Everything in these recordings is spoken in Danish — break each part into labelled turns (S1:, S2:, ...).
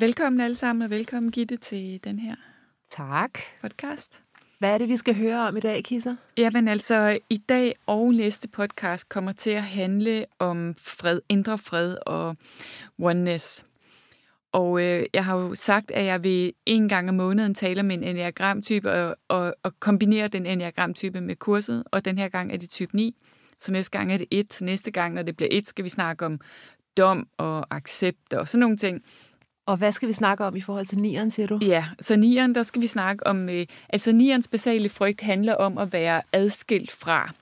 S1: Velkommen alle sammen, og velkommen Gitte til den her
S2: Tak.
S1: podcast.
S2: Hvad er det, vi skal høre om i dag, Kisser?
S1: Jamen altså, i dag og næste podcast kommer til at handle om fred, indre fred og oneness. Og øh, jeg har jo sagt, at jeg vil en gang om måneden tale om en enneagramtype og, og, og kombinere den enneagramtype med kurset. Og den her gang er det type 9, så næste gang er det 1. Så næste gang, når det bliver 1, skal vi snakke om dom og accept og sådan nogle ting.
S2: Og hvad skal vi snakke om i forhold til nieren, siger du?
S1: Ja, så nieren, der skal vi snakke om... Øh, altså nierens basale frygt handler om at være adskilt fra,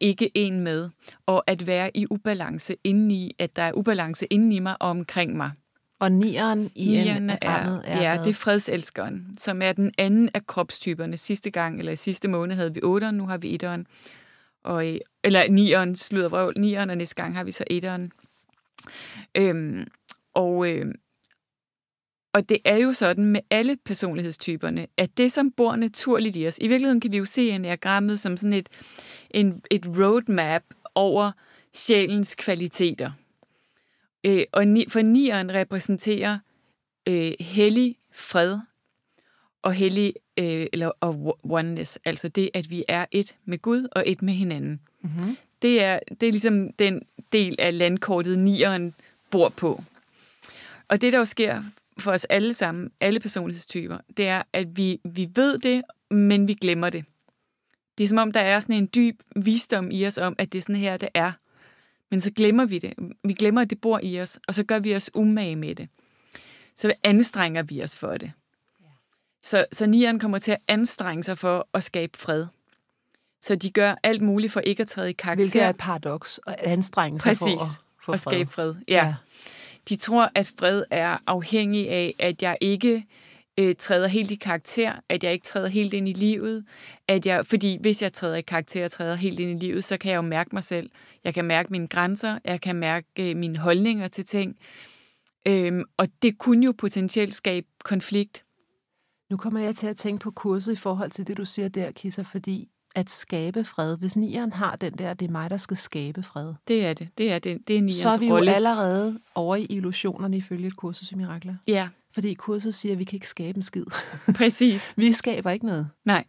S1: ikke en med, og at være i ubalance indeni, at der er ubalance indeni mig og omkring mig.
S2: Og nieren i
S1: Nieren
S2: en
S1: er,
S2: er, er
S1: ja,
S2: hvad?
S1: det er fredselskeren, som er den anden af kropstyperne. Sidste gang, eller i sidste måned, havde vi 8'eren, nu har vi 1'eren. Og, øh, eller 9'eren, slutter vrøvl, 9'eren, og næste gang har vi så 1'eren. Øhm, og, øh, og det er jo sådan med alle personlighedstyperne, at det, som bor naturligt i os, i virkeligheden kan vi jo se enagrammet som sådan et, en, et roadmap over sjælens kvaliteter. Øh, og ni, for nieren repræsenterer øh, hellig fred og hellig øh, eller og oneness, altså det, at vi er et med Gud og et med hinanden.
S2: Mm-hmm.
S1: Det er, det er ligesom den del af landkortet, nieren bor på. Og det, der jo sker for os alle sammen, alle personlighedstyper, det er, at vi, vi ved det, men vi glemmer det. Det er som om, der er sådan en dyb visdom i os om, at det er sådan her, det er. Men så glemmer vi det. Vi glemmer, at det bor i os, og så gør vi os umage med det. Så anstrenger vi os for det. Så, så nieren kommer til at anstrenge sig for at skabe fred. Så de gør alt muligt for ikke at træde i karakter.
S2: Hvilket er et paradoks og anstrengelse
S1: Præcis.
S2: for at få
S1: og
S2: fred.
S1: skabe fred. Ja. ja. De tror, at fred er afhængig af, at jeg ikke øh, træder helt i karakter, at jeg ikke træder helt ind i livet, at jeg, fordi hvis jeg træder i karakter og træder helt ind i livet, så kan jeg jo mærke mig selv. Jeg kan mærke mine grænser, jeg kan mærke øh, mine holdninger til ting. Øhm, og det kunne jo potentielt skabe konflikt.
S2: Nu kommer jeg til at tænke på kurset i forhold til det, du siger der, Kisser, fordi at skabe fred, hvis nieren har den der, det er mig, der skal skabe fred,
S1: Det er det. Det er, det. Det er
S2: så er
S1: nierens
S2: vi jo
S1: rolle.
S2: allerede over i illusionerne ifølge et kursus i mirakler.
S1: Ja,
S2: Fordi kurset siger, at vi kan ikke skabe en skid.
S1: præcis.
S2: vi skaber ikke noget.
S1: Nej.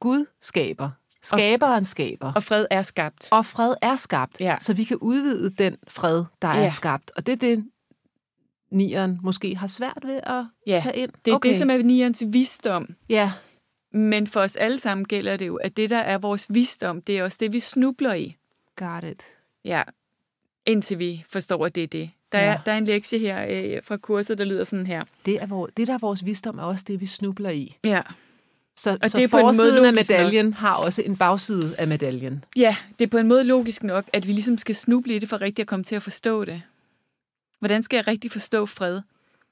S2: Gud skaber. Skaberen skaber.
S1: Og fred er skabt.
S2: Og fred er skabt,
S1: Ja.
S2: så vi kan udvide den fred, der er
S1: Ja.
S2: skabt. Og det er det, nieren måske har svært ved at
S1: Ja,
S2: tage ind.
S1: Det er okay. det, som er nierens visdom.
S2: Ja,
S1: Men for os alle sammen gælder det jo, at det, der er vores visdom, det er også det, vi snubler i.
S2: got it.
S1: Ja. Indtil vi forstår, at det er det. Der er,
S2: Ja.
S1: ja. der er en lektie her øh, fra kurset, der lyder sådan her.
S2: Det, er vor, det, der er vores visdom, er også det, vi snubler i.
S1: Ja,
S2: Så,
S1: Og
S2: så
S1: det er på en måde
S2: forsiden af
S1: logisk nok.
S2: medaljen har også en bagside af medaljen.
S1: ja det er på en måde logisk nok, at vi ligesom skal snuble i det for rigtigt at komme til at forstå det. Hvordan skal jeg rigtig forstå fred,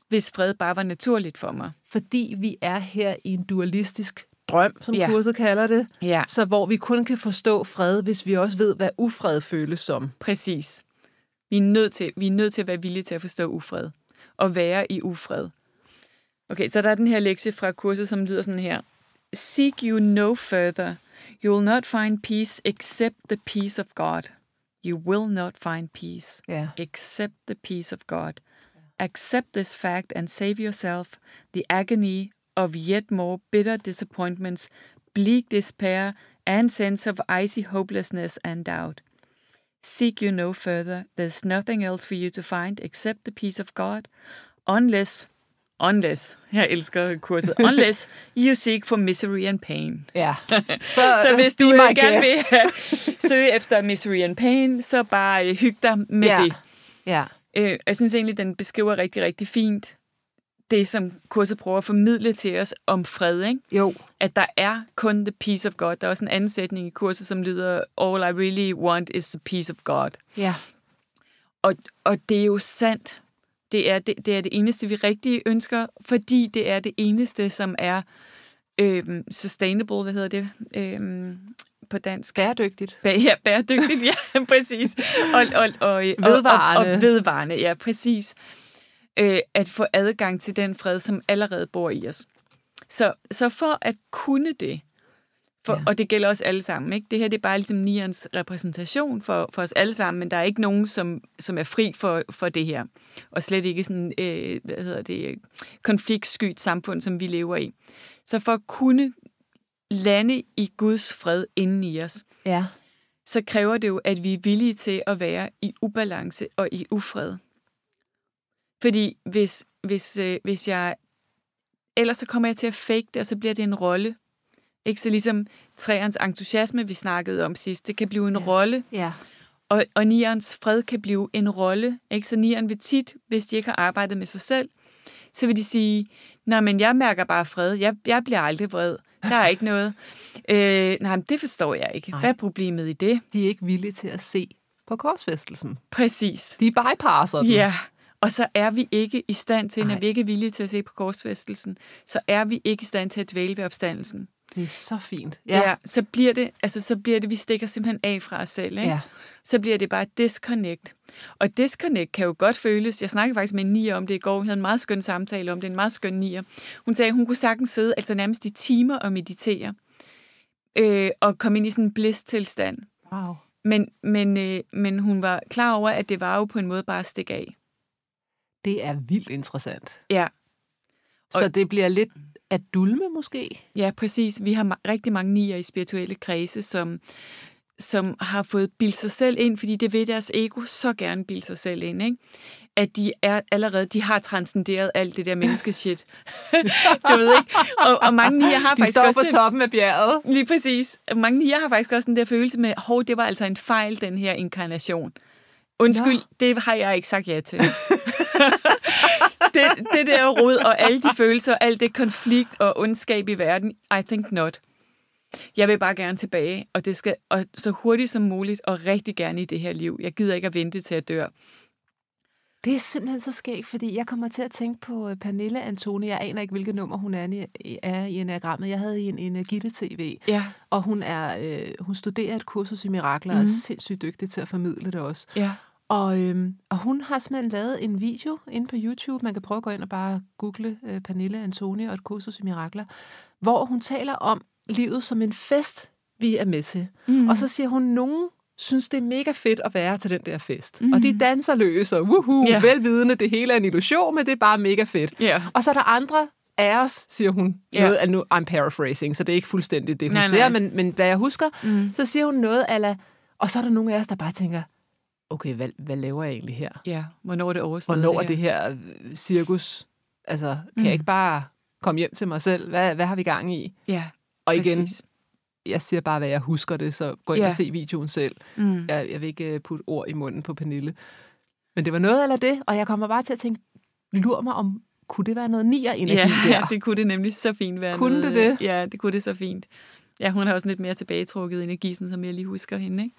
S1: hvis fred bare var naturligt for mig?
S2: Fordi vi er her i en dualistisk drøm, som ja.
S1: Ja.
S2: kurset kalder det.
S1: Ja.
S2: Så hvor vi kun kan forstå fred, hvis vi også ved, hvad ufred føles som.
S1: Præcis. Vi er nødt til, vi er nødt til at være villige til at forstå ufred. Og være i ufred. Okay, så der er den her lektie fra kurset, som lyder sådan her. Seek you no further. You will not find peace except the peace of God. You will not find peace
S2: Ja.
S1: accept the peace of God. Accept this fact and save yourself the agony of yet more bitter disappointments, bleak despair, and sense of icy hopelessness and doubt. Seek you no further. There's nothing else for you to find except the peace of God, unless Unless, jeg elsker kurset, unless you seek for misery and pain.
S3: Ja. Så,
S1: Så hvis
S3: Uh, be
S1: du
S3: my
S1: øh, gerne vil
S3: guest.
S1: øh, søge efter misery and pain, så bare øh, hyg dig med
S3: Ja.
S1: det.
S3: Ja.
S1: Øh, jeg synes egentlig, den beskriver rigtig, rigtig fint det, som kurset prøver at formidle til os om fred, ikke?
S3: Jo.
S1: at der er kun the peace of God. Der er også en anden sætning i kurset, som lyder, all I really want is the peace of God.
S3: Ja.
S1: Og, og det er jo sandt. Det er det, det er det eneste, vi rigtig ønsker, fordi det er det eneste, som er øhm, sustainable, hvad hedder det øhm, på dansk?
S3: Bæredygtigt.
S1: Bæ- ja, bæredygtigt, ja, præcis. Og, og, og, og,
S3: Vedvarende.
S1: Og, og vedvarende, ja, præcis. Øh, at få adgang til den fred, som allerede bor i os. Så, så for at kunne det, for, ja. og det gælder os alle sammen, ikke? det her det er bare ligesom Nians repræsentation for, for os alle sammen, men der er ikke nogen, som, som er fri for, for det her. Og slet ikke sådan, øh, hvad hedder det, øh, konfliktskyt samfund, som vi lever i. Så for at kunne lande i Guds fred inden i os,
S3: Ja.
S1: så kræver det jo, at vi er villige til at være i ubalance og i ufred. Fordi hvis, hvis, øh, hvis jeg... Ellers så kommer jeg til at fake det, og så bliver det en rolle. Ikke? Så ligesom træernes entusiasme, vi snakkede om sidst, det kan blive en ja. rolle,
S3: Ja.
S1: og, og nierens fred kan blive en rolle. Ikke? Så nieren vil tit, hvis de ikke har arbejdet med sig selv, så vil de sige, nej, men jeg mærker bare fred. Jeg, jeg bliver aldrig vred. Der er ikke noget. Øh, nej, men det forstår jeg ikke.
S3: Nej.
S1: Hvad er problemet i det?
S3: De er ikke villige til at se på korsfæstelsen.
S1: Præcis.
S3: De bypasser den.
S1: Ja, og så er vi ikke i stand til,
S3: Nej.
S1: når vi ikke er villige til at se på korsfæstelsen, så er vi ikke i stand til at dvæle ved opstandelsen.
S3: Det er så fint.
S1: så bliver det, altså så bliver det, vi stikker simpelthen af fra os selv, ikke?
S3: Ja.
S1: Så bliver det bare et disconnect. Og disconnect kan jo godt føles, jeg snakkede faktisk med en nier om det i går, hun havde en meget skøn samtale om det, en meget skøn nier. Hun sagde, at hun kunne sagtens sidde altså nærmest i timer og meditere, øh, og komme ind i sådan en bliss-tilstand.
S3: Wow.
S1: Men, men, øh, men hun var klar over, at det var jo på en måde bare at stikke af.
S3: Det er vildt interessant.
S1: Ja,
S3: Så det bliver lidt at dulme måske?
S1: Ja, præcis. Vi har ma- rigtig mange nier i spirituelle kredse, som, som har fået bildt sig selv ind, fordi det vil deres ego så gerne bilde sig selv ind, ikke? at de er allerede, de har transcenderet alt det der menneskeshit. du ved ikke? Og, og mange nier har
S3: De
S1: faktisk
S3: står
S1: også
S3: på
S1: den-
S3: toppen af bjerget.
S1: Lige præcis. Mange nier har faktisk også den der følelse med, hov, det var altså en fejl, den her inkarnation. Undskyld,
S3: Nå.
S1: det har jeg ikke sagt ja til. det, det der rod og alle de følelser, alt det konflikt og ondskab i verden, I think not. Jeg vil bare gerne tilbage, og det skal og så hurtigt som muligt, og rigtig gerne i det her liv. Jeg gider ikke at vente til at dør.
S3: Det er simpelthen så skægt, fordi jeg kommer til at tænke på øh, Pernille Antoni. Jeg aner ikke, hvilket nummer hun er i, er i enagrammet. Jeg havde en, en Gitte-TV,
S1: Ja,
S3: og hun, er, øh, hun studerer et kursus i mirakler, mm. og er sindssygt dygtig til at formidle det også.
S1: ja.
S3: Og, øhm, og hun har simpelthen lavet en video inde på YouTube. Man kan prøve at gå ind og bare google øh, Pernille Antoni og et kursus i mirakler, hvor hun taler om livet som en fest, vi er med til. Mm. Og så siger hun, nogen synes, det er mega fedt at være til den der fest. Mm. Og de danser løs og woohoo,
S1: Ja.
S3: yeah. velvidende, det hele er en illusion, men det er bare mega fedt.
S1: Ja.
S3: Og så er der andre af os, siger hun.
S1: Ja.
S3: Noget af nu, I'm paraphrasing, så det er ikke fuldstændigt det, hun
S1: Nej,
S3: siger,
S1: nej.
S3: Men, men hvad jeg husker, mm. så siger hun noget ala, og så er der nogle af os, der bare tænker, okay, hvad, hvad laver jeg egentlig her?
S1: Ja, hvornår er det overstået?
S3: Hvornår er
S1: her?
S3: det her øh, cirkus? Altså, kan mm. jeg ikke bare komme hjem til mig selv? Hvad, hvad har vi gang i?
S1: Ja,
S3: Og igen,
S1: præcis.
S3: jeg siger bare, hvad jeg husker det, så gå ind
S1: Ja.
S3: og se videoen selv.
S1: Mm.
S3: Jeg, jeg vil ikke øh, putte ord i munden på Pernille. Men det var noget eller det, og jeg kommer bare til at tænke, lur mig om, kunne det være noget nier-energi
S1: Ja,
S3: der?
S1: ja, det kunne det nemlig så fint være.
S3: Kunne
S1: noget,
S3: det det?
S1: øh, Ja, det kunne det så fint. Ja, hun har også en lidt mere tilbagetrukket energi, sådan som jeg lige husker hende, ikke?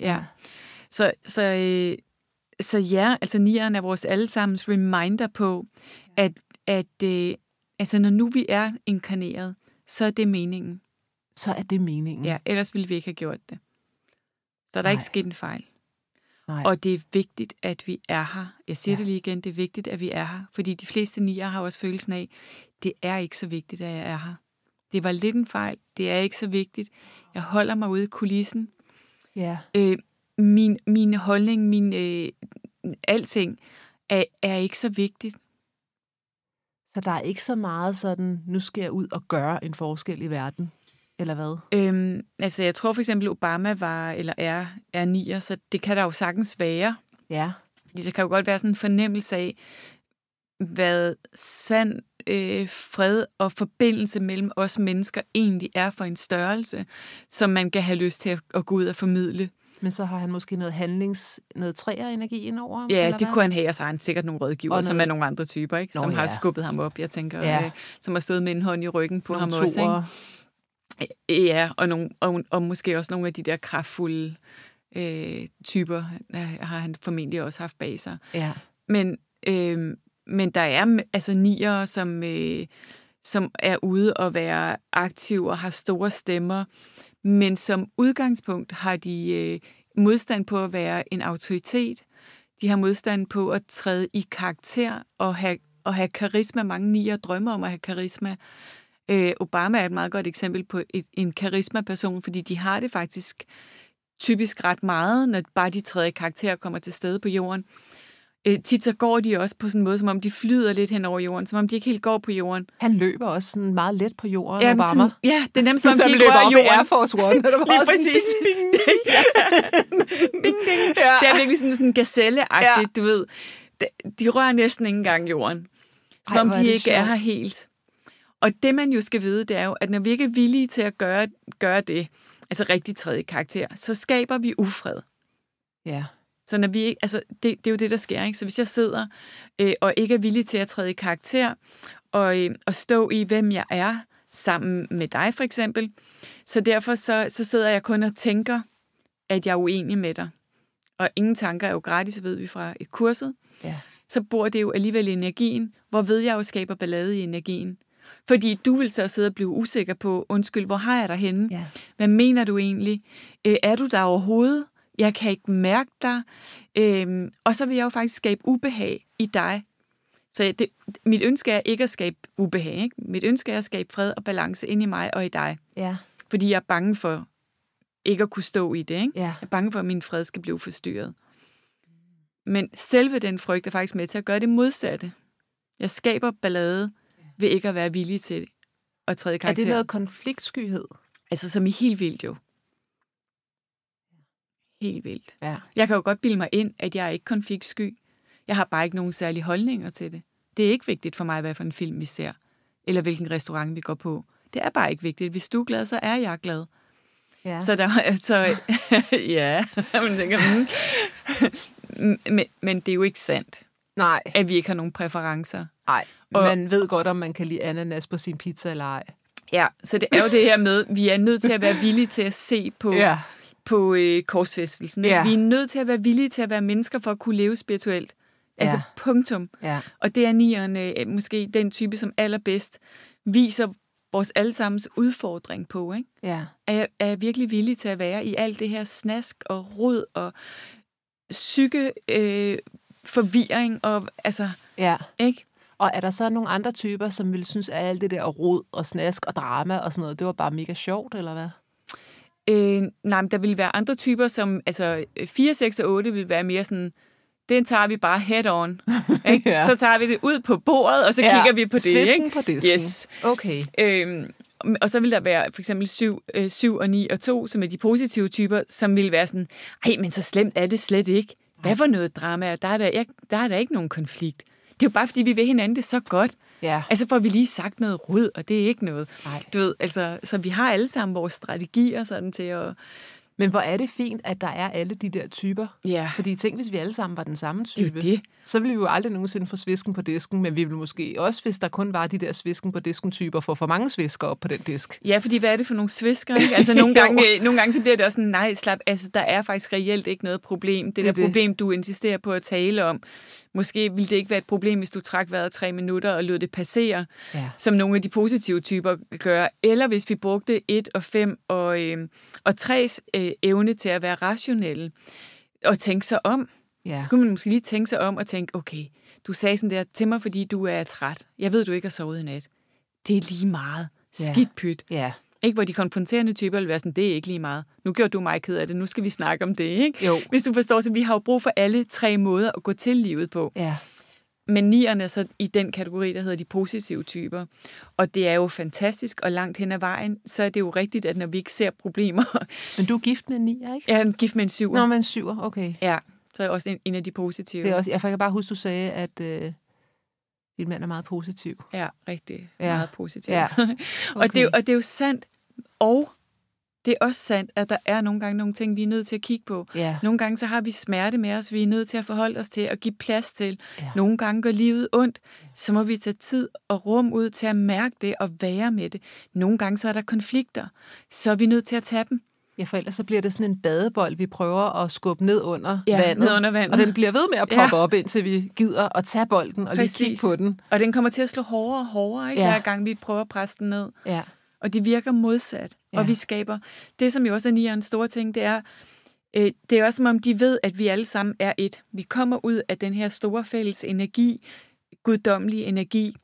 S1: Ja. Så, så, øh, så ja, altså nieren er vores allesammens reminder på, at, at øh, altså, når nu vi er inkarneret, så er det meningen.
S3: så er det meningen.
S1: Ja, ellers ville vi ikke have gjort det. Så er der er
S3: Nej.
S1: ikke sket en fejl.
S3: Nej.
S1: Og det er vigtigt, at vi er her. Jeg siger
S3: Ja.
S1: ja. det lige igen, det er vigtigt, at vi er her. Fordi de fleste nier har også følelsen af, det er ikke så vigtigt, at jeg er her. Det var lidt en fejl. Det er ikke så vigtigt. Jeg holder mig ude i kulissen.
S3: ja.
S1: Øh, min, min holdning, min øh, alting er, er ikke så vigtigt.
S3: Så der er ikke så meget sådan, nu skal jeg ud og gøre en forskel i verden, eller hvad?
S1: Øhm, altså, jeg tror for eksempel, Obama var, eller er, er nier, så det kan der jo sagtens være.
S3: Ja.
S1: Fordi der kan jo godt være sådan en fornemmelse af, hvad sand øh, fred og forbindelse mellem os mennesker egentlig er for en størrelse, som man kan have lyst til at, at gå ud og formidle.
S3: Men så har han måske noget handlings, noget træerenergi indover?
S1: Ja,
S3: eller
S1: det
S3: hvad?
S1: kunne han have, og så har han sikkert nogle rådgiver,
S3: Og
S1: som
S3: noget-
S1: er nogle andre typer, ikke?
S3: Nå,
S1: som har
S3: ja.
S1: skubbet ham op, jeg tænker,
S3: Ja.
S1: ja. øh, som har stået med en hånd i ryggen på ham
S3: Nogle
S1: også. Ikke?
S3: toer.
S1: Ja, og, nogle, og, og måske også nogle af de der kraftfulde øh, typer øh, har han formentlig også haft bag sig.
S3: Ja.
S1: Men, øh, men der er altså nier, som, øh, som er ude og være aktive og har store stemmer, men som udgangspunkt har de øh, modstand på at være en autoritet. De har modstand på at træde i karakter og have, og have karisma. Mange nier drømmer om at have karisma. Øh, Obama er et meget godt eksempel på et, en karismaperson, fordi de har det faktisk typisk ret meget, når bare de træder i karakter og kommer til stede på jorden. Øh, tit så går de også på sådan en måde, som om de flyder lidt hen over jorden, som om de ikke helt går på jorden.
S3: Han løber også sådan meget let på jorden
S1: Ja,
S3: og varmer.
S1: Sådan, ja, det er nemt, som om de ikke
S3: løber
S1: rører
S3: op i Air
S1: jorden.
S3: Force One. og der var
S1: Lige
S3: sådan,
S1: præcis.
S3: Ding, ding.
S1: Ding, ding.
S3: Ja.
S1: Det er virkelig sådan, sådan gazelleagtigt,
S3: Ja.
S1: ja. du ved. De- De rører næsten ikke engang jorden. Som
S3: Ej,
S1: om
S3: hvor er
S1: de
S3: det
S1: ikke er
S3: sjovt.
S1: her helt. Og det, man jo skal vide, det er jo, at når vi ikke er villige til at gøre, gøre det, altså rigtig tredje karakter, så skaber vi ufred.
S3: Ja.
S1: Så når vi ikke, altså det, det er jo det, der sker. Ikke? Så hvis jeg sidder øh, og ikke er villig til at træde i karakter og, øh, og stå i, hvem jeg er, sammen med dig for eksempel, så derfor så, så sidder jeg kun og tænker, at jeg er uenig med dig. Og ingen tanker er jo gratis, ved vi fra et kurset.
S3: ja.
S1: Så bor det jo alligevel i energien, hvor ved jeg jo skaber ballade i energien. Fordi du vil så sidde og blive usikker på, undskyld, hvor har jeg dig henne?
S3: Ja.
S1: Hvad mener du egentlig? Øh, er du der overhovedet? Jeg kan ikke mærke dig. Øhm, og så vil jeg jo faktisk skabe ubehag i dig. Så det, mit ønske er ikke at skabe ubehag. Ikke? Mit ønske er at skabe fred og balance ind i mig og i dig.
S3: Ja.
S1: Fordi jeg er bange for ikke at kunne stå i det. Ikke?
S3: Ja.
S1: Jeg er bange for, at min fred skal blive forstyrret. Men selve den frygt er faktisk med til at gøre det modsatte. Jeg skaber ballade ved ikke at være villig til at træde i
S3: Er
S1: karakter.
S3: det noget konfliktskyhed?
S1: Altså, som i helt vildt jo. Helt vildt.
S3: Ja.
S1: Jeg kan jo godt bilde mig ind, at jeg er ikke konfliktsky. Jeg har bare ikke nogen særlige holdninger til det. Det er ikke vigtigt for mig, hvad for en film vi ser, eller hvilken restaurant vi går på. Det er bare ikke vigtigt. Hvis du er glad, så er jeg glad.
S3: ja.
S1: Så der så, ja, man tænker, mm. men, men det er jo ikke sandt,
S3: Nej,
S1: at vi ikke har nogen præferencer.
S3: nej.
S1: Og-
S3: Man ved godt, om man kan lide ananas på sin pizza eller ej.
S1: Ja, så det er jo det her med, at vi er nødt til at være villige til at se på,
S3: Ja.
S1: på øh, korsfæstelsen. ikke?
S3: Ja.
S1: Vi er nødt til at være villige til at være mennesker for at kunne leve spirituelt. Altså
S3: Ja.
S1: punktum.
S3: Ja.
S1: Og det er nieren øh, måske den type, som allerbedst viser vores allesammens udfordring på. Ikke?
S3: Ja.
S1: Er, jeg, er jeg virkelig villig til at være i alt det her snask og rod og psyke øh, forvirring og altså,
S3: Ja.
S1: ikke?
S3: Og er der så nogle andre typer, som ville synes, at alt det der rod og snask og drama og sådan noget, det var bare mega sjovt, eller hvad?
S1: Øh, nej, men der vil være andre typer, som altså 4, 6 og 8 vil være mere sådan, den tager vi bare head on. Ikke?
S3: Ja.
S1: ja. Så tager vi det ud på bordet, og så ja. kigger vi på det.
S3: Svisken
S1: ikke?
S3: på disken.
S1: Yes.
S3: Okay.
S1: Øhm, og så vil der være for eksempel 7, øh, 7 og 9 og 2, som er de positive typer, som vil være sådan, ej, men så slemt er det slet ikke. Hvad for noget drama? Der er der, jeg, der, er der ikke nogen konflikt. Det er jo bare, fordi vi vil hinanden det så godt.
S3: Ja.
S1: Altså får vi lige sagt noget rod, og det er ikke noget.
S3: Nej.
S1: Du ved, altså, så vi har alle sammen vores strategier sådan til at...
S3: Men hvor er det fint, at der er alle de der typer?
S1: Ja.
S3: Fordi tænk, hvis vi alle sammen var den samme
S1: er jo
S3: type.
S1: det.
S3: Så ville vi jo aldrig nogensinde få svisken på disken, men vi ville måske også, hvis der kun var de der svisken på disken-typer, få for mange svisker op på den disk.
S1: Ja, fordi hvad er det for nogle svisker? Ikke? Altså nogle
S3: Jo.
S1: gange, øh, nogle gange så bliver det også sådan, nej, slap, altså der er faktisk reelt ikke noget problem. Det,
S3: er
S1: det der
S3: det.
S1: problem, du insisterer på at tale om, måske ville det ikke være et problem, hvis du trak vejret tre minutter og lod det passere,
S3: Ja.
S1: som nogle af de positive typer gør. Eller hvis vi brugte et og fem og, øh, og tres øh, evne til at være rationelle og tænke sig om.
S3: Ja.
S1: Så kunne man måske lige tænke sig om og tænke, okay, du sagde sådan der til mig, fordi du er træt. Jeg ved, du ikke har sovet i nat. Det er lige meget.
S3: Ja.
S1: Skidt pyt.
S3: Ja.
S1: Ikke, hvor de konfronterende typer vil være sådan, det er ikke lige meget. Nu gjorde du mig ked af det, nu skal vi snakke om det, ikke?
S3: Jo.
S1: Hvis du forstår, så vi har jo brug for alle tre måder at gå til livet på.
S3: Ja.
S1: Men nierne er så i den kategori, der hedder de positive typer. Og det er jo fantastisk, og langt hen ad vejen, så er det jo rigtigt, at når vi ikke ser problemer,
S3: Men du er gift med en nier, ikke?
S1: jeg er gift med en syver.
S3: Nå, men syver, okay.
S1: Ja, så er jeg også en, en af de positive.
S3: Det er også, jeg kan bare huske, du sagde, at øh, Min mand er meget positiv.
S1: er rigtig
S3: Ja.
S1: ja. meget positiv.
S3: Ja.
S1: Ja.
S3: Okay.
S1: Og, det, er jo- og det er jo sandt, og det er også sandt, at der er nogle gange nogle ting, vi er nødt til at kigge på.
S3: ja.
S1: Nogle gange så har vi smerte med os, vi er nødt til at forholde os til og give plads til.
S3: Ja.
S1: Ja. Nogle gange gør livet ondt, så må vi tage tid og rum ud til at mærke det og være med det. Nogle gange så er der konflikter, så er vi nødt til at tage dem.
S3: ja, for ellers så bliver det sådan en badebold, vi prøver at skubbe ned under
S1: Ja,
S3: vandet.
S1: ned under vandet.
S3: Og den bliver ved med at
S1: Ja.
S3: poppe ja. op, indtil vi gider at tage bolden og lige
S1: Præcis.
S3: kigge på den.
S1: Og den kommer til at slå hårdere og hårdere, ikke?
S3: Ja.
S1: Ja. hver gang vi prøver at presse den ned.
S3: Ja.
S1: Og det virker modsat. Ja.
S3: Ja.
S1: Og vi skaber... Det, som jo også er nierens store ting, det er, øh, det er også som om, de ved, at vi alle sammen er et. Vi kommer ud af den her store fælles energi, guddommelige energi.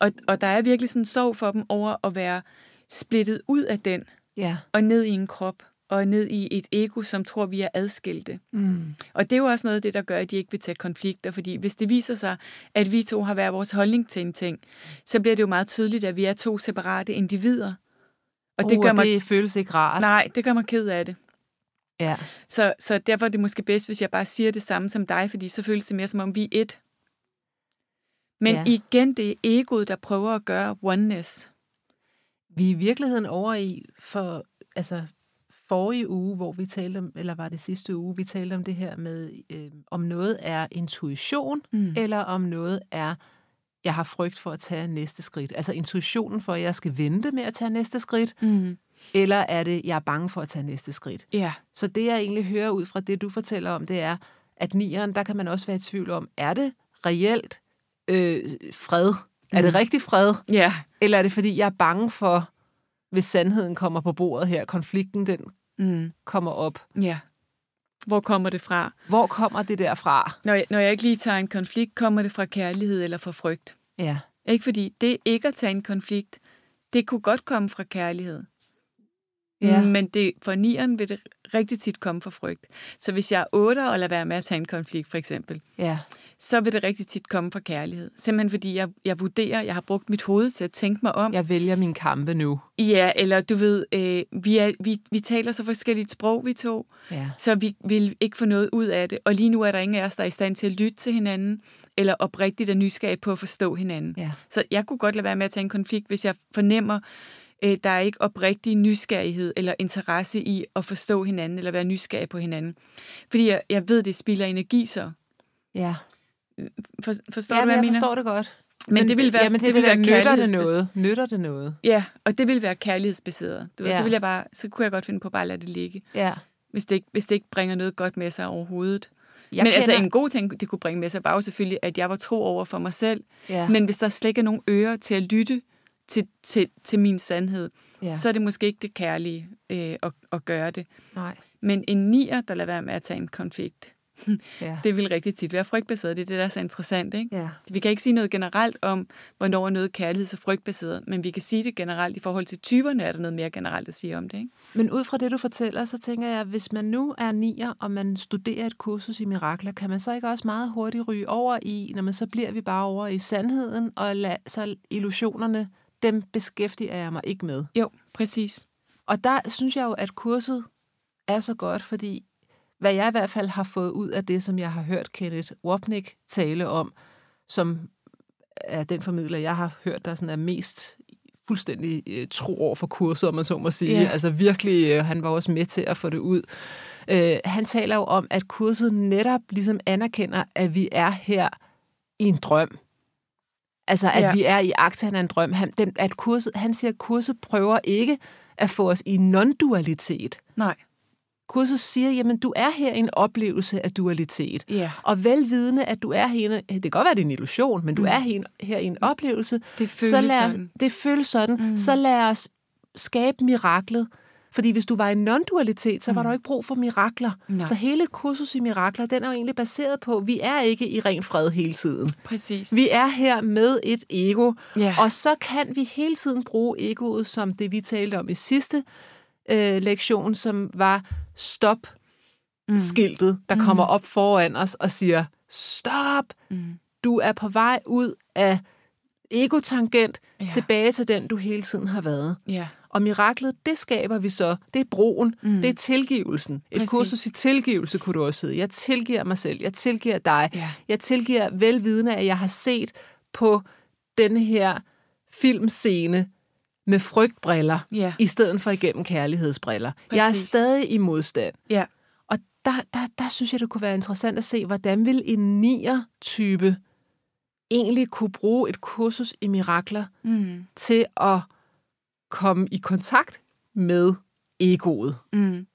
S1: Og, og der er virkelig sådan en sorg for dem over at være splittet ud af den,
S3: Ja.
S1: og ned i en krop, og ned i et ego, som tror, vi er adskilte.
S3: Mm.
S1: Og det er jo også noget af det, der gør, at de ikke vil tage konflikter, fordi hvis det viser sig, at vi to har hver vores holdning til en ting, så bliver det jo meget tydeligt, at vi er to separate individer. Og det
S3: Uh,
S1: gør mig
S3: det føles ikke rart.
S1: nej, det gør mig ked af det.
S3: Ja.
S1: Så, så derfor er det måske bedst, hvis jeg bare siger det samme som dig, fordi så føles det mere som om vi er et. Men
S3: Ja.
S1: ja. igen, det er egoet, der prøver at gøre oneness.
S3: Vi er i virkeligheden over i for altså forrige uge, hvor vi talte om, eller var det sidste uge, vi talte om det her med, øh, om noget er intuition, mm.
S1: Mm.
S3: eller om noget er, jeg har frygt for at tage næste skridt. Altså intuitionen for, at jeg skal vente med at tage næste skridt,
S1: Mm.
S3: eller er det, jeg er bange for at tage næste skridt.
S1: Ja,
S3: Så det, jeg egentlig hører ud fra det, du fortæller om, det er, at nieren, der kan man også være i tvivl om, er det reelt øh, fred? Mm. Er det rigtig fred?
S1: ja,
S3: Eller er det, fordi jeg er bange for, hvis sandheden kommer på bordet her, konflikten den
S1: mm.
S3: kommer op.
S1: ja. Hvor kommer det fra?
S3: Hvor kommer det der fra?
S1: Når jeg, når jeg ikke lige tager en konflikt, kommer det fra kærlighed eller fra frygt?
S3: Ja.
S1: Ikke fordi det ikke at tage en konflikt, det kunne godt komme fra kærlighed.
S3: Ja.
S1: Ja. Men det, for nieren vil det rigtig tit komme fra frygt. Så hvis jeg er otter og lader være med at tage en konflikt, for eksempel,
S3: Ja.
S1: så vil det rigtig tit komme fra kærlighed. Simpelthen fordi jeg, jeg vurderer, jeg har brugt mit hoved til at tænke mig om. Ja,
S3: Jeg vælger mine kampe nu.
S1: ja eller du ved, øh, vi, er, vi, vi taler så forskelligt sprog, vi to,
S3: Ja.
S1: så vi vil ikke få noget ud af det. Og lige nu er der ingen af os, der er i stand til at lytte til hinanden, eller oprigtigt er nysgerrig på at forstå hinanden.
S3: Ja.
S1: Så jeg kunne godt lade være med at tage en konflikt, hvis jeg fornemmer, øh, der er ikke oprigtig nysgerrighed eller interesse i at forstå hinanden, eller være nysgerrig på hinanden. Fordi jeg, jeg ved, det spilder energi så.
S3: Ja.
S1: For, forstår
S3: ja
S1: du, hvad
S3: men jeg
S1: mener?
S3: forstår det godt.
S1: Men det ville være-
S3: jamen, det,
S1: det
S3: vil
S1: ville
S3: være,
S1: være
S3: nytter det
S1: kærlighedsbas-
S3: noget? Nytter det noget?
S1: Ja, og det ville være kærlighedsbaseret. Du ved,
S3: Ja.
S1: så, ville jeg bare, så kunne jeg godt finde på bare at lade det ligge,
S3: Ja.
S1: hvis det ikke, hvis det ikke bringer noget godt med sig overhovedet.
S3: Jeg
S1: Jeg Men altså
S3: kender-
S1: en god ting, det kunne bringe med sig, var jo selvfølgelig, at jeg var tro over for mig selv.
S3: Ja.
S1: Men hvis der slet ikke er nogen ører til at lytte til, til, til min sandhed,
S3: Ja.
S1: ja. så er det måske ikke det kærlige øh, at, at gøre det.
S3: Nej.
S1: Men en nier, der lader være med at tage en konflikt,
S3: Ja.
S1: det vil rigtig tit være frygtbaseret. Det er det, der er så interessant, ikke?
S3: Ja.
S1: Vi kan ikke sige noget generelt om, hvornår er noget kærligheds- og frygtbaseret, men vi kan sige det generelt i forhold til typerne, er der noget mere generelt at sige om det, ikke?
S3: Men ud fra det, du fortæller, så tænker jeg, hvis man nu er nier, og man studerer et kursus i mirakler, kan man så ikke også meget hurtigt ryge over i, når man så bliver vi bare over i sandheden, og lad, så illusionerne, dem beskæftiger jeg mig ikke med.
S1: Jo, præcis.
S3: Og der synes jeg jo, at kurset er så godt, fordi hvad jeg i hvert fald har fået ud af det, som jeg har hørt Kenneth Wapnick tale om, som er den formidler, jeg har hørt, der sådan er mest fuldstændig øh, tro over for kurset, om man så må sige.
S1: Ja.
S3: Yeah. Altså virkelig, øh, han var også med til at få det ud. Øh, han taler jo om, at kurset netop ligesom anerkender, at vi er her i en drøm. Altså, at
S1: Ja.
S3: vi er i akten af en drøm. Han, den, at kurset, han siger, at kurset prøver ikke at få os i non-dualitet.
S1: Nej.
S3: Kurset siger, jamen du er her i en oplevelse af dualitet.
S1: Ja.
S3: Og velvidende, at du er her, i en- det kan godt være, det er en illusion, men du er her, i en- her i en oplevelse.
S1: Det
S3: så
S1: Mm. føles
S3: lad,
S1: sådan.
S3: Det føles sådan. Mm. Så lad os skabe miraklet. Fordi hvis du var i non-dualitet, så var der jo ikke brug for mirakler.
S1: Mm. Nej.
S3: Så hele kursus i mirakler, den er jo egentlig baseret på, vi er ikke i ren fred hele tiden.
S1: Præcis.
S3: Vi er her med et ego,
S1: Ja.
S3: og så kan vi hele tiden bruge egoet som det, vi talte om i sidste øh, lektion, som var stop-skiltet, der mm. kommer op foran os og siger, stop, mm. du er på vej ud af egotangent ja.
S1: Ja.
S3: tilbage til den, du hele tiden har været.
S1: Ja.
S3: Og miraklet, det skaber vi så. Det er broen, mm. det er tilgivelsen. Et
S1: Præcis.
S3: kursus i tilgivelse kunne du også sidde. Jeg tilgiver mig selv, jeg tilgiver dig,
S1: Ja.
S3: jeg tilgiver velvidende, at jeg har set på denne her filmscene med frygtbriller,
S1: Ja.
S3: i stedet for igennem kærlighedsbriller. Præcis. Jeg er
S1: Præcis.
S3: stadig i modstand.
S1: Ja.
S3: Og der, der, der synes jeg, det kunne være interessant at se, hvordan vil en nier-type egentlig kunne bruge et kursus i mirakler
S1: Mm.
S3: til at komme i kontakt med egoet.
S1: Mm.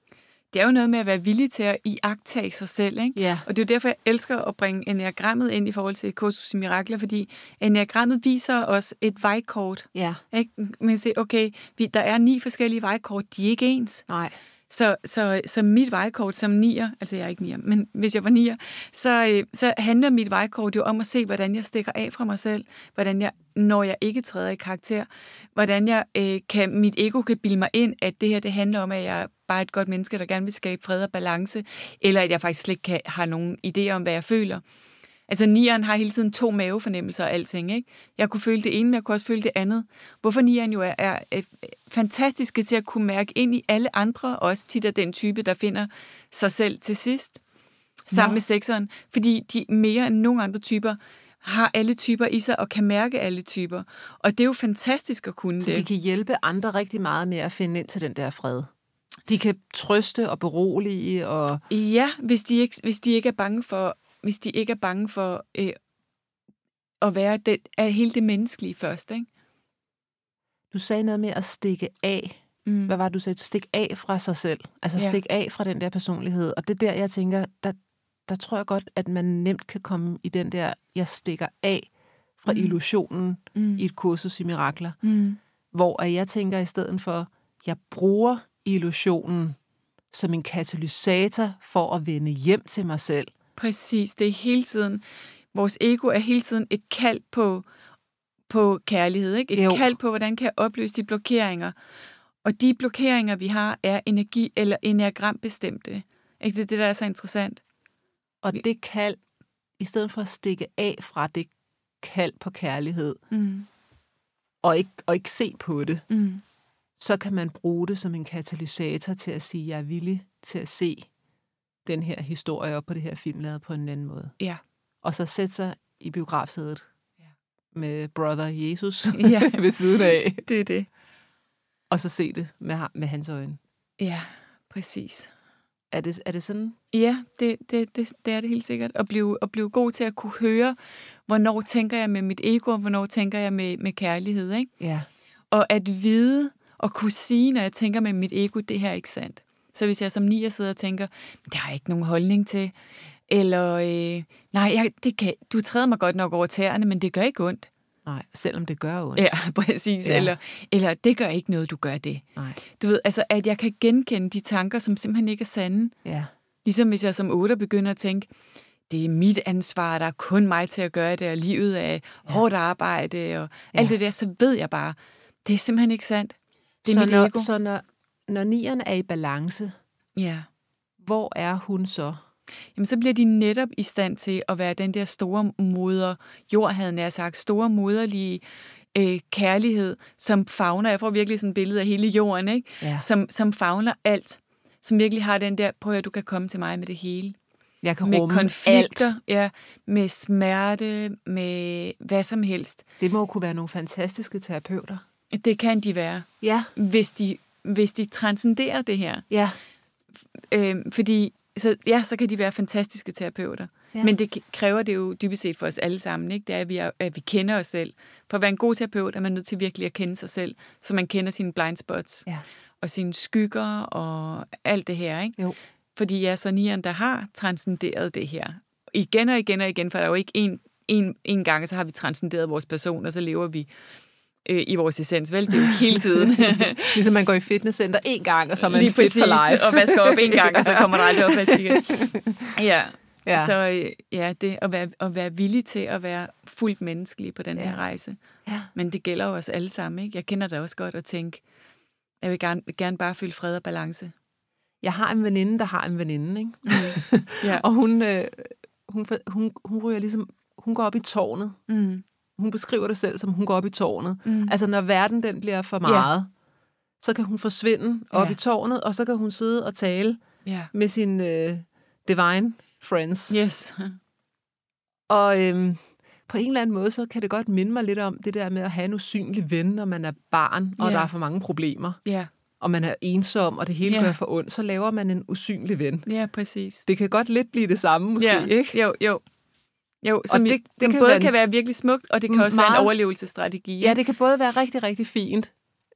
S1: Det er jo noget med at være villig til at iagtage sig selv, ikke?
S3: Ja.
S1: Og det er jo derfor, jeg elsker at bringe enagrammet ind i forhold til kursus i mirakler, fordi enagrammet viser os et vejkort.
S3: Ja.
S1: Ikke? Man kan se, okay, vi, der er ni forskellige vejkort, de er ikke ens.
S3: Nej.
S1: Så, så, så mit vejkort som nier, altså jeg er ikke nier, men hvis jeg var nier, så, øh, så handler mit vejkort jo om at se, hvordan jeg stikker af fra mig selv, hvordan jeg, når jeg ikke træder i karakter, hvordan jeg, øh, kan, mit ego kan bilde mig ind, at det her det handler om, at jeg bare er et godt menneske, der gerne vil skabe fred og balance, eller at jeg faktisk slet ikke kan, har nogen idé om, hvad jeg føler. Altså nieren har hele tiden to mavefornemmelser og alting, ikke? Jeg kunne føle det ene, men jeg kunne også føle det andet. Hvorfor nieren jo er, er, er fantastiske til at kunne mærke ind i alle andre, og også tit er den type, der finder sig selv til sidst, sammen
S3: Nå.
S1: med sekseren, fordi de mere end nogen andre typer har alle typer i sig og kan mærke alle typer. Og det er jo fantastisk at kunne
S3: Så
S1: det.
S3: de kan hjælpe andre rigtig meget med at finde ind til den der fred. De kan trøste og berolige og...
S1: Ja, hvis de ikke, hvis de ikke er bange for, hvis de ikke er bange for øh, at være det, af hele det menneskelige først, ikke?
S3: Du sagde noget med at stikke af.
S1: Mm.
S3: Hvad var det, du sagde? Stik af fra sig selv. Altså
S1: Ja.
S3: ja. stik af fra den der personlighed. Og det er der, jeg tænker, der, der tror jeg godt, at man nemt kan komme i den der, jeg stikker af fra
S1: Mm.
S3: mm. illusionen
S1: Mm.
S3: i et kursus i mirakler.
S1: Mm.
S3: Hvor at jeg tænker i stedet for, jeg bruger illusionen som en katalysator for at vende hjem til mig selv.
S1: Præcis, det er hele tiden, vores ego er hele tiden et kald på, på kærlighed, ikke? et
S3: Jo.
S1: jo. kald på, hvordan kan jeg opløse de blokeringer. Og de blokeringer, vi har, er energi- eller enagrambestemte. Ikke? Det er det, der er så interessant.
S3: Og det kald, i stedet for at stikke af fra det kald på kærlighed,
S1: Mm.
S3: og ikke, og ikke se på det,
S1: Mm.
S3: så kan man bruge det som en katalysator til at sige, jeg er villig til at se den her historie op på det her film lavet på en anden måde.
S1: Ja.
S3: Og så sætte sig i biografsædet
S1: Ja.
S3: med brother Jesus
S1: Ja.
S3: ved siden af,
S1: Det er det.
S3: og så se det med, ham- med hans øjne.
S1: Ja, præcis.
S3: Er det, er det sådan?
S1: Ja, det, det, det, det er det helt sikkert. At blive, at blive god til at kunne høre, hvornår tænker jeg med mit ego, og hvornår tænker jeg med, med kærlighed. Ikke?
S3: Ja.
S1: Og at vide og kunne sige, når jeg tænker med mit ego, det her er ikke sandt. Så hvis jeg som nier sidder og tænker, det har jeg ikke nogen holdning til, eller øh, nej, jeg, det kan, du træder mig godt nok over tæerne, men det gør ikke ondt.
S3: Nej, selvom det gør ondt.
S1: Ja, præcis.
S3: Ja.
S1: Ja. Eller, eller det gør ikke noget, du gør det.
S3: Nej.
S1: Du ved, altså, at jeg kan genkende de tanker, som simpelthen ikke er sande.
S3: Ja.
S1: Ligesom hvis jeg som otter begynder at tænke, det er mit ansvar, der er kun mig til at gøre det, og livet er hårdt arbejde, og ja. alt det der, så ved jeg bare, det er simpelthen ikke sandt. Det er
S3: så
S1: mit
S3: når,
S1: ego.
S3: Så når, når nieren er i balance,
S1: Ja.
S3: hvor er hun så?
S1: Jamen, så bliver de netop i stand til at være den der store moder, jord havde jeg nær sagt, store moderlige øh, kærlighed, som fagner, jeg får virkelig sådan et billede af hele jorden, ikke?
S3: Ja.
S1: Som, som fagner alt, som virkelig har den der, prøv at du kan komme til mig med det hele.
S3: Jeg kan
S1: med
S3: rumme
S1: konflikter,
S3: alt.
S1: ja, med smerte, med hvad som helst.
S3: Det må jo kunne være nogle fantastiske terapeuter.
S1: Det kan de være,
S3: Ja,
S1: hvis de, hvis de transcenderer det her.
S3: ja.
S1: Øh, fordi så, ja, så kan de være fantastiske terapeuter.
S3: Ja.
S1: Ja. Men det k- kræver det jo dybest set for os alle sammen, ikke? Det er, at vi, er, at vi kender os selv. For at være en god terapeut, er man nødt til virkelig at kende sig selv, så man kender sine blind spots
S3: Ja.
S1: og sine skygger og alt det her, ikke?
S3: Jo.
S1: Fordi jeg er så nieren, der har transcenderet det her. Igen og igen og igen, for der er jo ikke en, en, en gang, så har vi transcenderet vores person, og så lever vi øh, i vores essens, vel? Det er jo hele tiden.
S3: Ligesom man går i fitnesscenter en gang, og så er man
S1: Lige
S3: fit
S1: præcis,
S3: for life.
S1: og vasker op en gang, og så kommer der aldrig opvask igen. Ja.
S3: Ja.
S1: ja. Så øh, ja, det at være, at være villig til at være fuldt menneskelig på den ja. her rejse.
S3: Ja.
S1: Men det gælder jo os alle sammen, ikke? Jeg kender det også godt at tænke, jeg vil gerne, gerne bare føle fred og balance.
S3: Jeg har en veninde, der har en veninde, ikke?
S1: Ja.
S3: og hun, øh, hun, hun, hun ryger ligesom, hun går op i tårnet.
S1: Mm.
S3: Hun beskriver det selv som, hun går op i tårnet. Mm. Altså, når verden den bliver for meget, så kan hun forsvinde op
S1: Ja.
S3: i tårnet, og så kan hun sidde og tale
S1: Ja.
S3: med sine øh, divine friends.
S1: Yes.
S3: Og øhm, på en eller anden måde, så kan det godt minde mig lidt om det der med at have en usynlig ven, når man er barn, og
S1: Ja.
S3: der er for mange problemer,
S1: Ja,
S3: og man er ensom, og det hele
S1: Ja.
S3: gør for ondt, så laver man en usynlig ven.
S1: ja præcis.
S3: Det kan godt lidt blive det samme, måske,
S1: ja.
S3: ikke?
S1: Jo, jo. Jo, som, det,
S3: det-
S1: det
S3: det
S1: som
S3: kan
S1: både
S3: være en-
S1: kan være virkelig smukt, og det kan også være
S3: Meget.
S1: en overlevelsesstrategi.
S3: Ja,
S1: ikke?
S3: det kan både være rigtig, rigtig fint,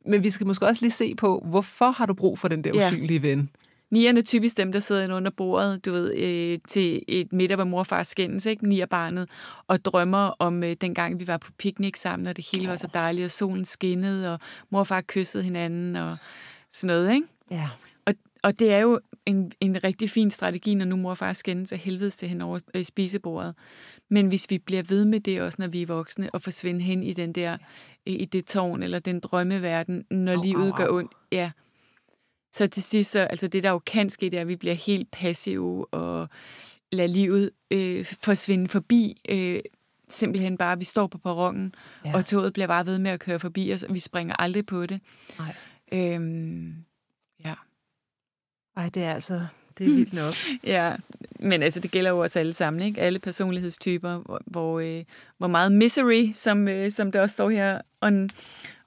S3: men vi skal måske også lige se på, hvorfor har du brug for den der
S1: Ja.
S3: usynlige ven?
S1: Nierne er typisk dem, der sidder inde under bordet, du ved, øh, til et middag, hvor mor og far skændes, ikke? Nierbarnet, og drømmer om øh, dengang, vi var på piknik sammen, og det hele var så dejligt, og solen skinnede, og mor og far kyssede hinanden, og sådan noget, ikke?
S3: Ja.
S1: Og, og det er jo en, en rigtig fin strategi, når nu mor og far skændes af helvedes til hen over øh, spisebordet. Men hvis vi bliver ved med det også, når vi er voksne, og forsvinde hen i den der, øh, i det tårn eller den drømmeverden, når
S3: Au,
S1: au, livet
S3: au,
S1: gør
S3: au.
S1: ondt, ja. Så til sidst, så, altså det der jo kan ske, det er, at vi bliver helt passive og lader livet øh, forsvinde forbi. Øh, simpelthen bare, vi står på perronen,
S3: Ja.
S1: ja. og toget bliver bare ved med at køre forbi os, og vi springer aldrig på det.
S3: Nej.
S1: Øhm, ja.
S3: Ej, det er altså, det er vildt nok.
S1: Ja, men altså, det gælder jo også alle sammen, ikke? Alle personlighedstyper, hvor, hvor, øh, hvor meget misery, som, øh, som der også står her, un,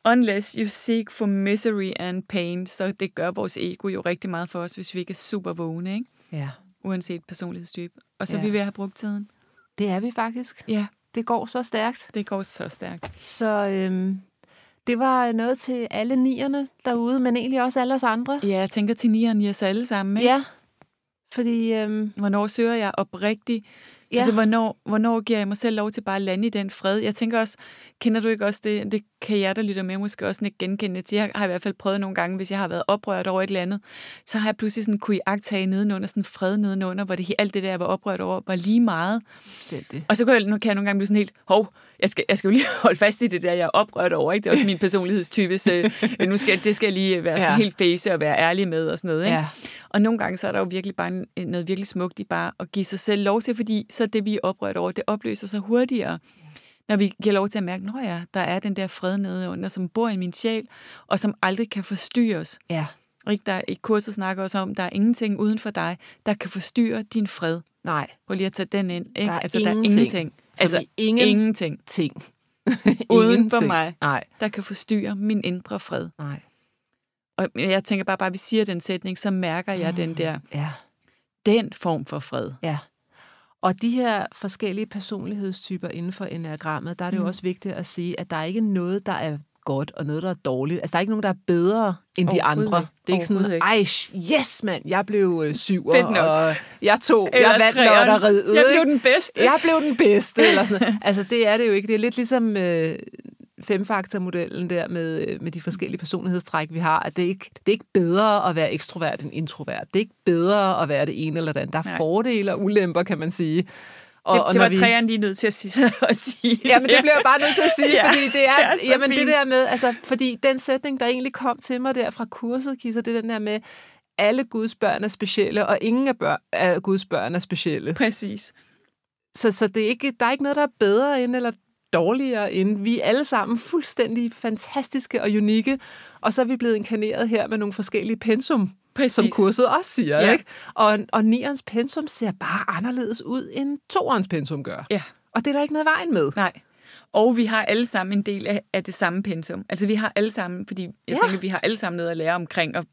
S1: unless you seek for misery and pain, så det gør vores ego jo rigtig meget for os, hvis vi ikke er super vågne, ikke?
S3: Ja.
S1: Uanset personlighedstype. Og så
S3: Ja.
S1: ja. er vi ved at have brugt tiden.
S3: Det er vi faktisk.
S1: Ja,
S3: Det går så stærkt.
S1: det går så stærkt.
S3: Så øhm, det var noget til alle nierne derude, men egentlig også alle os andre.
S1: Ja, jeg tænker til nieren i os alle sammen, ikke?
S3: Ja, fordi øhm,
S1: Hvornår søger jeg oprigtigt?
S3: Ja.
S1: Ja. Altså, hvornår, hvornår giver jeg mig selv lov til bare at lande i den fred? Jeg tænker også, kender du ikke også det, det kan jeg, der lytter med, måske også ikke genkende til. Jeg har i hvert fald prøvet nogle gange, hvis jeg har været oprørt over et eller andet, så har jeg pludselig sådan kunne iagtage nedenunder, sådan en fred nedenunder, hvor det, he- alt det der, jeg var oprørt over, var lige meget.
S3: Fuldstændig.
S1: Og så kan jeg, nu kan jeg nogle gange blive sådan helt, hov, jeg skal, jeg skal jo lige holde fast i det der, jeg er oprørt over, ikke? Det er også min personlighedstype, så nu skal, det skal jeg lige være sådan
S3: Ja.
S1: ja. helt face og være ærlig med og sådan noget. Ikke?
S3: Ja.
S1: Og nogle gange, så er der jo virkelig bare en- noget virkelig smukt i bare at give sig selv lov til, fordi så det, vi er oprørt over, det opløser sig hurtigere. Når vi giver lov til at mærke, at ja, der er den der fred nede under, som bor i min sjæl, og som aldrig kan forstyrre os.
S3: ja.
S1: Ikke? Der i kurset snakker også om, at der er ingenting uden for dig, der kan forstyrre din fred.
S3: Nej,
S1: Prøv lige at tage den ind. Ikke?
S3: Der er
S1: altså, der
S3: ingenting.
S1: er ingenting.
S3: Som
S1: Altså,
S3: i ingen-
S1: ingenting,
S3: ting.
S1: Uden for
S3: Ingenting.
S1: mig.
S3: Nej,
S1: der kan forstyrre min indre fred.
S3: nej.
S1: Og jeg tænker bare, bare at vi siger den sætning, så mærker jeg den der,
S3: Ja,
S1: den form for fred.
S3: ja. Og de her forskellige personlighedstyper inden for enagrammet, der er det
S1: Mm.
S3: jo også vigtigt at sige, at der er ikke noget, der er godt og noget, der er dårligt. Altså, der er ikke nogen, der er bedre end de
S1: Overhovedet
S3: andre.
S1: ikke.
S3: Det er ikke sådan,
S1: Overhovedet ikke.
S3: ej, yes mand, jeg blev øh, syver,
S1: Fedt nok.
S3: og jeg tog, jeg
S1: Eller
S3: vandt
S1: træeren.
S3: lotteriet.
S1: Jeg blev
S3: ikke?
S1: den bedste.
S3: Jeg blev den bedste, eller sådan noget. Altså, det er det jo ikke. Det er lidt ligesom øh, femfaktormodellen der med, øh, med de forskellige personlighedstræk, vi har. At det, er ikke, det er ikke bedre at være ekstrovert end introvert. Det er ikke bedre at være det ene eller det andet. Der er Nej.
S1: Nej.
S3: fordele og ulemper, kan man sige. Og,
S1: det, det
S3: når
S1: var træerne lige nødt til at sige. at sige.
S3: Ja, men det bliver jeg bare nødt til at sige,
S1: Ja,
S3: fordi det er,
S1: det er så
S3: jamen, det
S1: fint.
S3: der med, altså, fordi den sætning, der egentlig kom til mig der fra kurset, Kisser, det er den der med, alle Guds børn er specielle, og ingen af, børn, af Guds børn er specielle.
S1: Præcis.
S3: Så, så det er ikke, der er ikke noget, der er bedre end eller dårligere end. Vi er alle sammen fuldstændig fantastiske og unikke, og så er vi blevet inkarneret her med nogle forskellige pensum,
S1: Præcis.
S3: som kurset også siger. Ja.
S1: Ja.
S3: Ikke? Og, og nierens pensum ser bare anderledes ud, end toerens pensum gør.
S1: Ja,
S3: Og det er der ikke noget i vejen med.
S1: nej. Og vi har alle sammen en del af, af det samme pensum. Altså vi har alle sammen, fordi jeg
S3: Ja.
S1: ja. tænker, vi har alle sammen noget at lære omkring at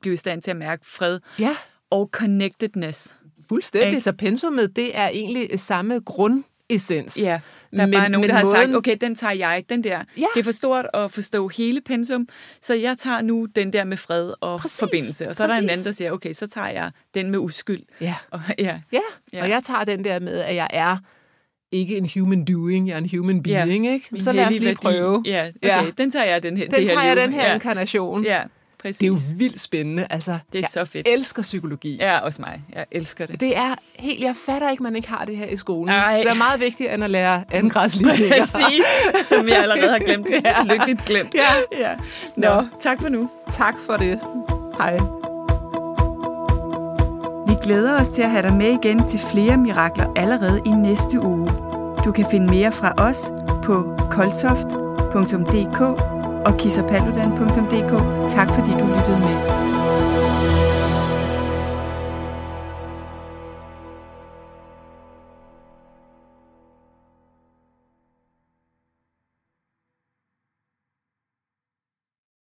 S1: blive i stand til at mærke fred
S3: Ja,
S1: og connectedness.
S3: fuldstændig.
S1: Ikke?
S3: Så pensummet, det er egentlig samme grundessens.
S1: Ja, der er
S3: Men-
S1: men, bare nogen,
S3: men
S1: der har
S3: måden-
S1: sagt, okay, den tager jeg, den der.
S3: Ja.
S1: Det er for stort at forstå hele pensum, så jeg tager nu den der med fred og
S3: Præcis,
S1: forbindelse. Og så er der en
S3: præcis.
S1: anden, der siger, okay, så tager jeg den med uskyld.
S3: Ja.
S1: Og, ja.
S3: Ja,
S1: Ja.
S3: og jeg tager den der med, at jeg er ikke en human doing, jeg er en human
S1: Ja,
S3: being, ikke?
S1: Min
S3: Så lad os
S1: hellige
S3: lige
S1: værdi.
S3: prøve.
S1: Ja, okay,
S3: Ja.
S1: ja. den tager jeg den her.
S3: Den
S1: det her
S3: tager jeg
S1: liv.
S3: den her
S1: ja.
S3: ja. inkarnation. Ja.
S1: Ja, præcis.
S3: Det er jo vildt spændende. Altså,
S1: Det er
S3: jeg
S1: så fedt.
S3: elsker psykologi.
S1: Ja, også mig. Jeg elsker det.
S3: Det er helt, jeg fatter ikke, man ikke har det her i skolen.
S1: Ej.
S3: Det er meget vigtigere end at lære angræsligninger.
S1: Præcis, som jeg allerede har glemt. ja. Lykkeligt glemt.
S3: Ja.
S1: ja. Nå,
S3: Nå.
S1: tak for nu.
S3: Tak for det. Hej.
S1: Vi glæder os til at have dig med igen til flere mirakler allerede i næste uge. Du kan finde mere fra os på koltoft.dk og kissapaludan.dk. Tak fordi du lyttede med.